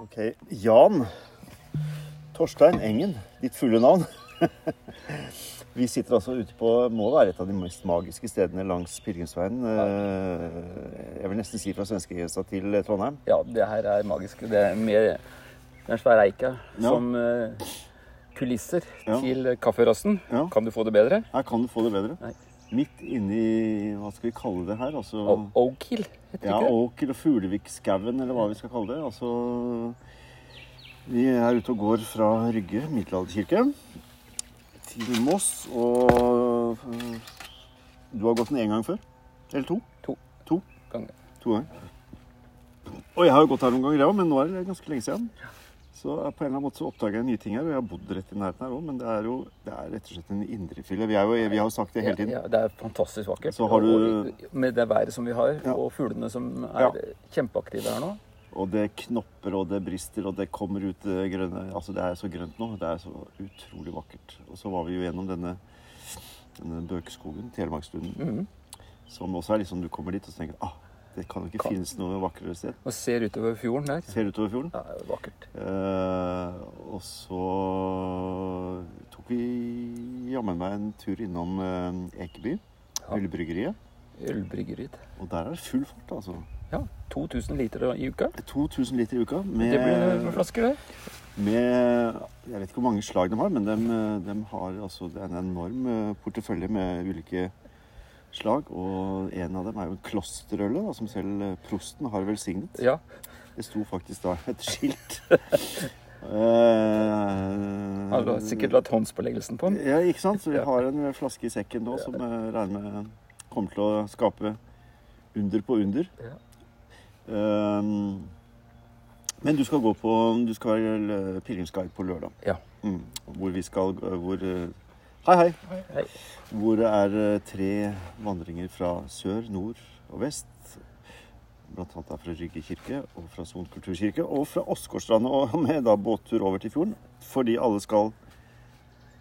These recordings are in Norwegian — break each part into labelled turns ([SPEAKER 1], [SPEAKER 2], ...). [SPEAKER 1] Ok, Jan Torstein Engen, ditt fulle navn. Vi sitter altså ute på må være et av de mest magiske stedene langs pilegrimsveien. eh, Jeg vil nesten si fra svenskegrensa til Trondheim.
[SPEAKER 2] Ja, det her er magisk. Det er med den svære eika som eh, kulisser
[SPEAKER 1] Ja.
[SPEAKER 2] til kafferossen.
[SPEAKER 1] Ja.
[SPEAKER 2] Kan du få det bedre?
[SPEAKER 1] Her kan du få det bedre.
[SPEAKER 2] Nei.
[SPEAKER 1] Midt inni Hva skal vi kalle det her? Altså,
[SPEAKER 2] O- Oakhill heter
[SPEAKER 1] ja,
[SPEAKER 2] det ikke det?
[SPEAKER 1] Åker og Fuglevikskauen, eller hva vi skal kalle det. Altså Vi er ute og går fra Rygge middelalderkirke til Moss, og øh, Du har gått den én gang før? Eller to?
[SPEAKER 2] To.
[SPEAKER 1] To,
[SPEAKER 2] Ganger.
[SPEAKER 1] to ganger. Og jeg har jo gått her noen ganger, jeg òg, men nå er det ganske lenge siden. Så jeg på en eller annen måte så oppdager jeg nye ting her, og jeg har bodd rett i nærheten her òg, men det er jo det er rett og slett en indrefilet. Vi, er jo- vi har jo sagt det hele tiden.
[SPEAKER 2] Ja, ja, det er fantastisk vakkert.
[SPEAKER 1] Så har du-
[SPEAKER 2] og, med det været som vi har,
[SPEAKER 1] Ja.
[SPEAKER 2] og fuglene som er
[SPEAKER 1] Ja.
[SPEAKER 2] kjempeaktive her nå.
[SPEAKER 1] Og det knopper, og det brister, og det kommer ut det grønne Altså, det er så grønt nå. Det er så utrolig vakkert. Og så var vi jo gjennom denne, denne bøkeskogen, Telemarkstunden,
[SPEAKER 2] Mhm.
[SPEAKER 1] som også er liksom Du kommer dit og så tenker du, ah, det kan jo ikke
[SPEAKER 2] Kan-
[SPEAKER 1] finnes noe vakrere sted.
[SPEAKER 2] Og ser utover fjorden der.
[SPEAKER 1] Ser utover fjorden.
[SPEAKER 2] Ja, det er vakkert.
[SPEAKER 1] Eh, og så tok vi jammen meg en tur innom eh, Ekeby,
[SPEAKER 2] Ja.
[SPEAKER 1] ølbryggeriet.
[SPEAKER 2] Ølbryggeriet.
[SPEAKER 1] Og der er det full fart, altså.
[SPEAKER 2] Ja, 2000 liter i uka.
[SPEAKER 1] 2000 liter i uka med
[SPEAKER 2] Det blir noen flasker, det.
[SPEAKER 1] Med Jeg vet ikke hvor mange slag de har, men de, har altså det er en enorm eh, portefølje med ulike slag. Og en av dem er jo en klosterølle, da, som selv eh, prosten har velsignet.
[SPEAKER 2] Ja.
[SPEAKER 1] Det sto faktisk da et skilt. Eh,
[SPEAKER 2] Han har sikkert latt håndsbeleggelsen på den.
[SPEAKER 1] Ja, ikke sant? Så vi
[SPEAKER 2] Ja.
[SPEAKER 1] har en flaske i sekken nå som jeg regner med kommer til å skape under på under.
[SPEAKER 2] Ja.
[SPEAKER 1] Ehm, men du skal gå på Du skal være l- pilegrimsguide på lørdag.
[SPEAKER 2] Ja.
[SPEAKER 1] Mm, hvor vi skal g- hvor, eh, Hei, hei.
[SPEAKER 2] Hei.
[SPEAKER 1] Hvor det er eh, tre vandringer fra sør, nord og vest. Blant annet er fra Rygge kirke og fra Son kulturkirke og fra Åsgårdstrand. Og med da båttur over til fjorden. Fordi alle skal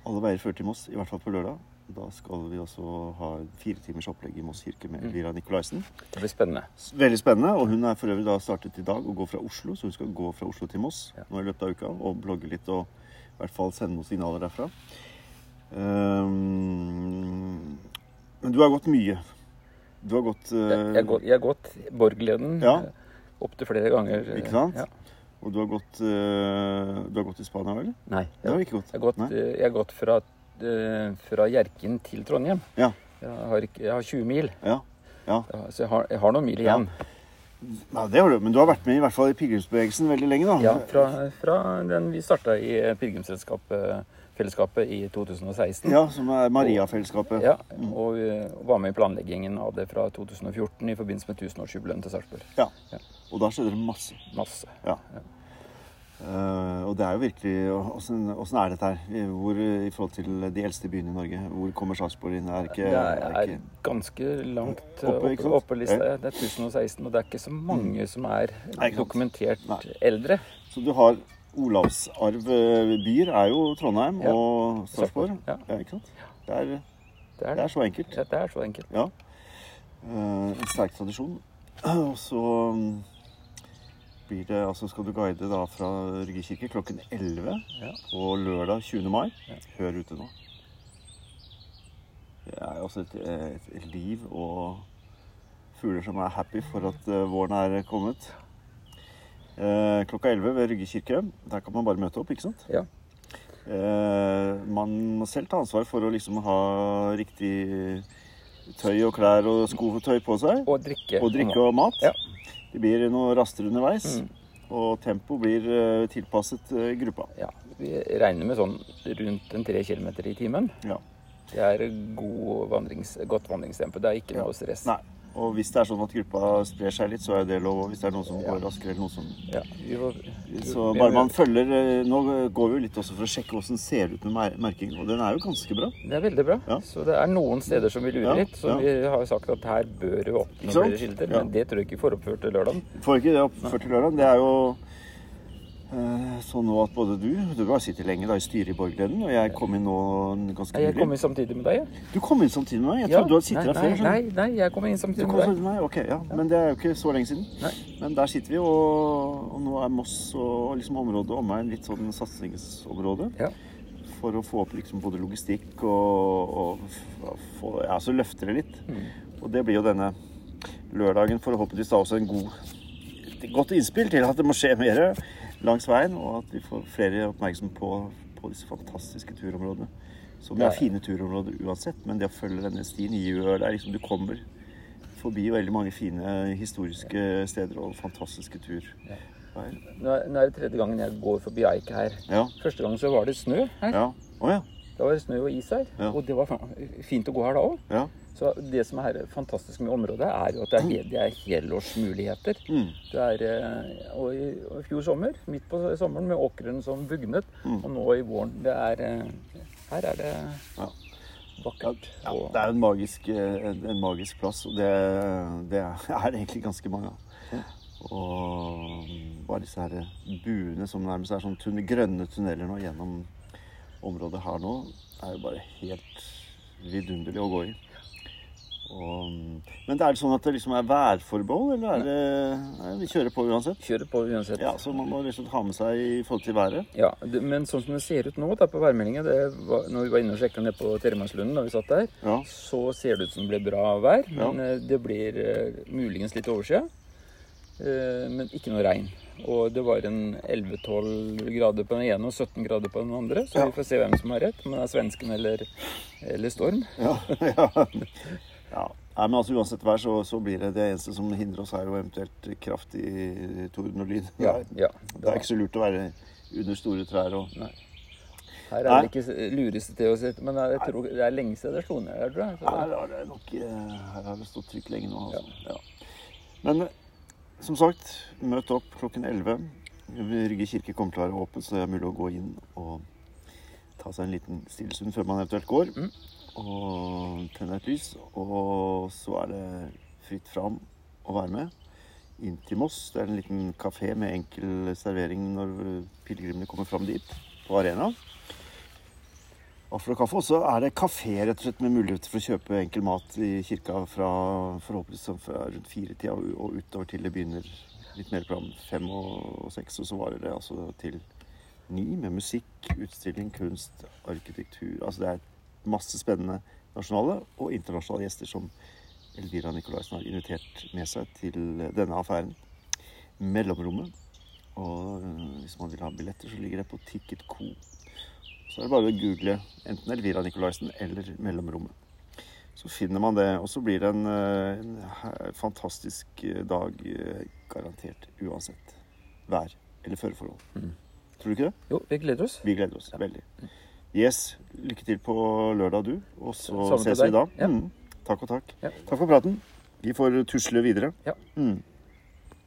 [SPEAKER 1] Alle veier fører til Moss, i hvert fall på lørdag. Da skal vi også ha fire timers opplegg i Moss kirke
[SPEAKER 2] Mm.
[SPEAKER 1] med Elvira Nikolaisen.
[SPEAKER 2] Det blir spennende.
[SPEAKER 1] Veldig spennende. Og hun er for øvrig da startet i dag å gå fra Oslo, så hun skal gå fra Oslo til Moss
[SPEAKER 2] Ja.
[SPEAKER 1] nå i løpet av uka og blogge litt og i hvert fall sende noen signaler derfra. Ehm, men du har gått mye. Du har gått eh,
[SPEAKER 2] Jeg jeg har gått, jeg har gått Borgleden
[SPEAKER 1] Ja.
[SPEAKER 2] eh, opp opptil flere ganger. eh,
[SPEAKER 1] Ikke sant?
[SPEAKER 2] Ja.
[SPEAKER 1] Og du har gått, eh, du har gått i Spania, vel?
[SPEAKER 2] Nei.
[SPEAKER 1] Det har
[SPEAKER 2] Jeg,
[SPEAKER 1] du ikke gått.
[SPEAKER 2] jeg har gått,
[SPEAKER 1] Nei?
[SPEAKER 2] eh, jeg har gått fra, eh, fra Hjerkinn til Trondheim.
[SPEAKER 1] Ja.
[SPEAKER 2] Jeg har, ikke, jeg har 20 mil,
[SPEAKER 1] ja. ja.
[SPEAKER 2] Ja, så jeg har, jeg har noen mil igjen.
[SPEAKER 1] Nei, det har du. Men du har vært med i hvert fall i pilegrimsbevegelsen veldig lenge, da.
[SPEAKER 2] Ja, fra, fra den vi starta i eh, pilegrimsfellesskapet i 2016.
[SPEAKER 1] Ja, som er Mariafellesskapet.
[SPEAKER 2] Ja, og eh, var med i planleggingen av det fra 2014 i forbindelse med 1000-årsjubileet til Sarpsborg.
[SPEAKER 1] Ja.
[SPEAKER 2] Ja.
[SPEAKER 1] Og da skjedde det masse.
[SPEAKER 2] Masse.
[SPEAKER 1] Ja. Eh, og det er jo virkelig og- Åssen åssen er dette her? Hvor, eh, I forhold til de eldste byene i Norge, hvor kommer Sarpsborg inn? Er ikke,
[SPEAKER 2] Det er,
[SPEAKER 1] er
[SPEAKER 2] er
[SPEAKER 1] ikke
[SPEAKER 2] ganske langt
[SPEAKER 1] Oppe,
[SPEAKER 2] oppe,
[SPEAKER 1] ikke
[SPEAKER 2] oppe,
[SPEAKER 1] sant?
[SPEAKER 2] lista.
[SPEAKER 1] Ja. Mm.
[SPEAKER 2] Det er 1016, og det er ikke så mange som er
[SPEAKER 1] Nei, ikke sant.
[SPEAKER 2] dokumentert
[SPEAKER 1] Nei.
[SPEAKER 2] eldre.
[SPEAKER 1] Så du har Olavsarvbyer er jo Trondheim
[SPEAKER 2] Ja.
[SPEAKER 1] og Sarpsborg.
[SPEAKER 2] Sarpsborg, ja.
[SPEAKER 1] ikke sant? Det er,
[SPEAKER 2] Det er,
[SPEAKER 1] det er så enkelt.
[SPEAKER 2] Ja, det er så enkelt.
[SPEAKER 1] Ja. Eh, en sterk tradisjon. Og så mm, blir det, altså skal du guide da fra Rygge kirke klokken 11
[SPEAKER 2] Ja.
[SPEAKER 1] på lørdag 20. mai.
[SPEAKER 2] Ja.
[SPEAKER 1] Hør ute nå. Det er også et, et liv og fugler som er happy for at eh, våren er kommet. Eh, klokka 11 ved Rygge kirke. Der kan man bare møte opp, ikke sant?
[SPEAKER 2] Ja.
[SPEAKER 1] Eh, man må selv ta ansvar for å liksom ha riktig tøy og klær og sko og tøy på seg.
[SPEAKER 2] Og drikke.
[SPEAKER 1] Og drikke og mat.
[SPEAKER 2] Ja.
[SPEAKER 1] Det blir noe raster underveis.
[SPEAKER 2] Mm.
[SPEAKER 1] Og tempo blir eh, tilpasset eh, gruppa.
[SPEAKER 2] Ja, vi regner med sånn rundt en tre kilometer i timen.
[SPEAKER 1] Ja.
[SPEAKER 2] Det er god vandrings, godt vandringstempo. Det er ikke
[SPEAKER 1] Ja.
[SPEAKER 2] noe stress.
[SPEAKER 1] Nei. Og hvis det er sånn at gruppa sprer seg litt, så er det lov. Og hvis det er noen som
[SPEAKER 2] Ja.
[SPEAKER 1] går raskere eller noen som
[SPEAKER 2] Ja, vi får,
[SPEAKER 1] Så
[SPEAKER 2] vi-
[SPEAKER 1] bare man følger eh, Nå går vi jo litt også for å sjekke åssen det ser ut med mer- merkingen, og den er jo ganske bra.
[SPEAKER 2] Det er veldig bra.
[SPEAKER 1] Ja.
[SPEAKER 2] Så det er noen steder som vi lurer
[SPEAKER 1] Ja,
[SPEAKER 2] litt. Så
[SPEAKER 1] ja.
[SPEAKER 2] vi har jo sagt at her bør det opp
[SPEAKER 1] Ikke
[SPEAKER 2] noen
[SPEAKER 1] sant?
[SPEAKER 2] flere skilter.
[SPEAKER 1] Ja.
[SPEAKER 2] Men det tror jeg ikke får oppført til lørdag.
[SPEAKER 1] Får ikke det opp før til lørdag. Det er jo eh, sånn nå at både du Du har sittet lenge da i styret i Borgleden, og jeg kom inn nå ganske
[SPEAKER 2] Nei, jeg kom
[SPEAKER 1] nylig.
[SPEAKER 2] inn samtidig med deg. jeg.
[SPEAKER 1] Du kom inn samtidig med meg? Jeg
[SPEAKER 2] Ja.
[SPEAKER 1] trodde du hadde sittet her
[SPEAKER 2] nei,
[SPEAKER 1] før. skjønner du.
[SPEAKER 2] Nei, nei, nei, jeg kom inn
[SPEAKER 1] Du kom
[SPEAKER 2] samtidig
[SPEAKER 1] sånn.
[SPEAKER 2] med deg.
[SPEAKER 1] samtidig med meg? Ok, ja. Men det er jo ikke så lenge siden.
[SPEAKER 2] Nei.
[SPEAKER 1] Men der sitter vi, og, og nå er er Moss og liksom området og omegn litt sånn satsingsområde.
[SPEAKER 2] Ja.
[SPEAKER 1] For å få opp liksom både logistikk og, og f- få, ja, så løfter det litt. Og det blir jo denne lørdagen forhåpentligvis da også en god, et godt innspill til at det må skje mer langs veien, og at vi får flere oppmerksom på, på disse fantastiske turområdene. Som
[SPEAKER 2] Ja,
[SPEAKER 1] er
[SPEAKER 2] ja.
[SPEAKER 1] fine turområder uansett, men det å følge denne stien gjør det er liksom Du kommer forbi veldig mange fine historiske steder og fantastiske turveier.
[SPEAKER 2] Nå er, nå er det tredje gangen jeg går forbi Eika her.
[SPEAKER 1] Ja.
[SPEAKER 2] Første gang så var det snø her.
[SPEAKER 1] Ja. Å ja.
[SPEAKER 2] Da var det snø og is her.
[SPEAKER 1] Ja.
[SPEAKER 2] Og det var fa- fint å gå her da òg.
[SPEAKER 1] Ja.
[SPEAKER 2] Så det som er fantastisk med området, er jo at det er, he- det er helårsmuligheter.
[SPEAKER 1] Mm.
[SPEAKER 2] Det er, eh, og i og i fjor sommer, midt på sommeren, med åkrene som bugnet,
[SPEAKER 1] Mm.
[SPEAKER 2] og nå i våren det er, eh, Her er det
[SPEAKER 1] Ja.
[SPEAKER 2] vakkert.
[SPEAKER 1] ja.
[SPEAKER 2] og-
[SPEAKER 1] Det er en magisk, eh, en, en magisk plass, og det, det er det egentlig ganske mange av. Og bare disse her buene som nærmest er sånn tun grønne tunneler nå gjennom området her nå, er jo bare helt vidunderlig å gå i. Og, men det er det sånn at det liksom er værforbehold, eller er det nei, Vi kjører på uansett.
[SPEAKER 2] Kjører på uansett.
[SPEAKER 1] Ja, Så man må liksom ha med seg i forhold til været.
[SPEAKER 2] Ja, det, Men sånn som det ser ut nå da, på værmeldingen det var, Når vi var inne og sjekka ned på Telemarkslunden, da vi satt der,
[SPEAKER 1] Ja.
[SPEAKER 2] så ser det ut som det blir bra vær.
[SPEAKER 1] Ja.
[SPEAKER 2] Men eh, det blir eh, muligens litt overskya. Eh, men ikke noe regn. Og det var en 11-12 grader på den ene og 17 grader på den andre. Så
[SPEAKER 1] Ja.
[SPEAKER 2] vi får se hvem som har rett, om det er svensken eller, eller Storm.
[SPEAKER 1] Ja, ja. ja. Nei, men altså Uansett vær, så, så blir det det eneste som hindrer oss, er jo eventuelt kraftig torden og lyn.
[SPEAKER 2] Ja,
[SPEAKER 1] Det er-
[SPEAKER 2] ja.
[SPEAKER 1] Det er ikke så lurt å være under store trær og
[SPEAKER 2] Nei. Her er det ikke lureste til å si, men eh, jeg tror det er lenge siden det slo ned her, tror jeg. Så,
[SPEAKER 1] Her har det nok eh, Her har det stått trygt lenge nå. Altså. Ja. Men eh, som sagt, møt opp klokken 11. Rygge kirke kommer til å være åpen, så det er mulig å gå inn og ta seg en liten stillestund før man eventuelt går.
[SPEAKER 2] Mm.
[SPEAKER 1] Og tenne et lys. Og så er det fritt fram å være med. Inn til Moss. Det er en liten kafé med enkel servering når eh, pilegrimene kommer fram dit, på arenaen. Vaffel og kaffe. Og så er det kafé rett og slett med muligheter for å kjøpe enkel mat i kirka fra forhåpentligvis sånn fra rundt firetida og og utover til det begynner litt mer program fem og og seks. Og så varer det altså til ni med musikk, utstilling, kunst, arkitektur. Altså det er masse spennende nasjonale og internasjonale gjester som Elvira Nikolaisen har invitert med seg til denne affæren. Mellomrommet. Og øh, hvis man vil ha billetter, så ligger det på Ticket Co. Så er det bare å google enten Elvira Nikolaisen eller Mellomrommet. Så finner man det, og så blir det en, eh, en he- fantastisk eh, dag, eh, garantert uansett vær eller føreforhold.
[SPEAKER 2] Mm.
[SPEAKER 1] Tror du ikke det?
[SPEAKER 2] jo, vi gleder oss.
[SPEAKER 1] Vi gleder oss veldig. Yes, lykke til på lørdag, du. Og så
[SPEAKER 2] Samme til
[SPEAKER 1] ses vi
[SPEAKER 2] deg.
[SPEAKER 1] da.
[SPEAKER 2] Ja.
[SPEAKER 1] Mm. Takk og takk.
[SPEAKER 2] Ja.
[SPEAKER 1] Takk for praten. Vi får tusle videre.
[SPEAKER 2] Ja.
[SPEAKER 1] Mm.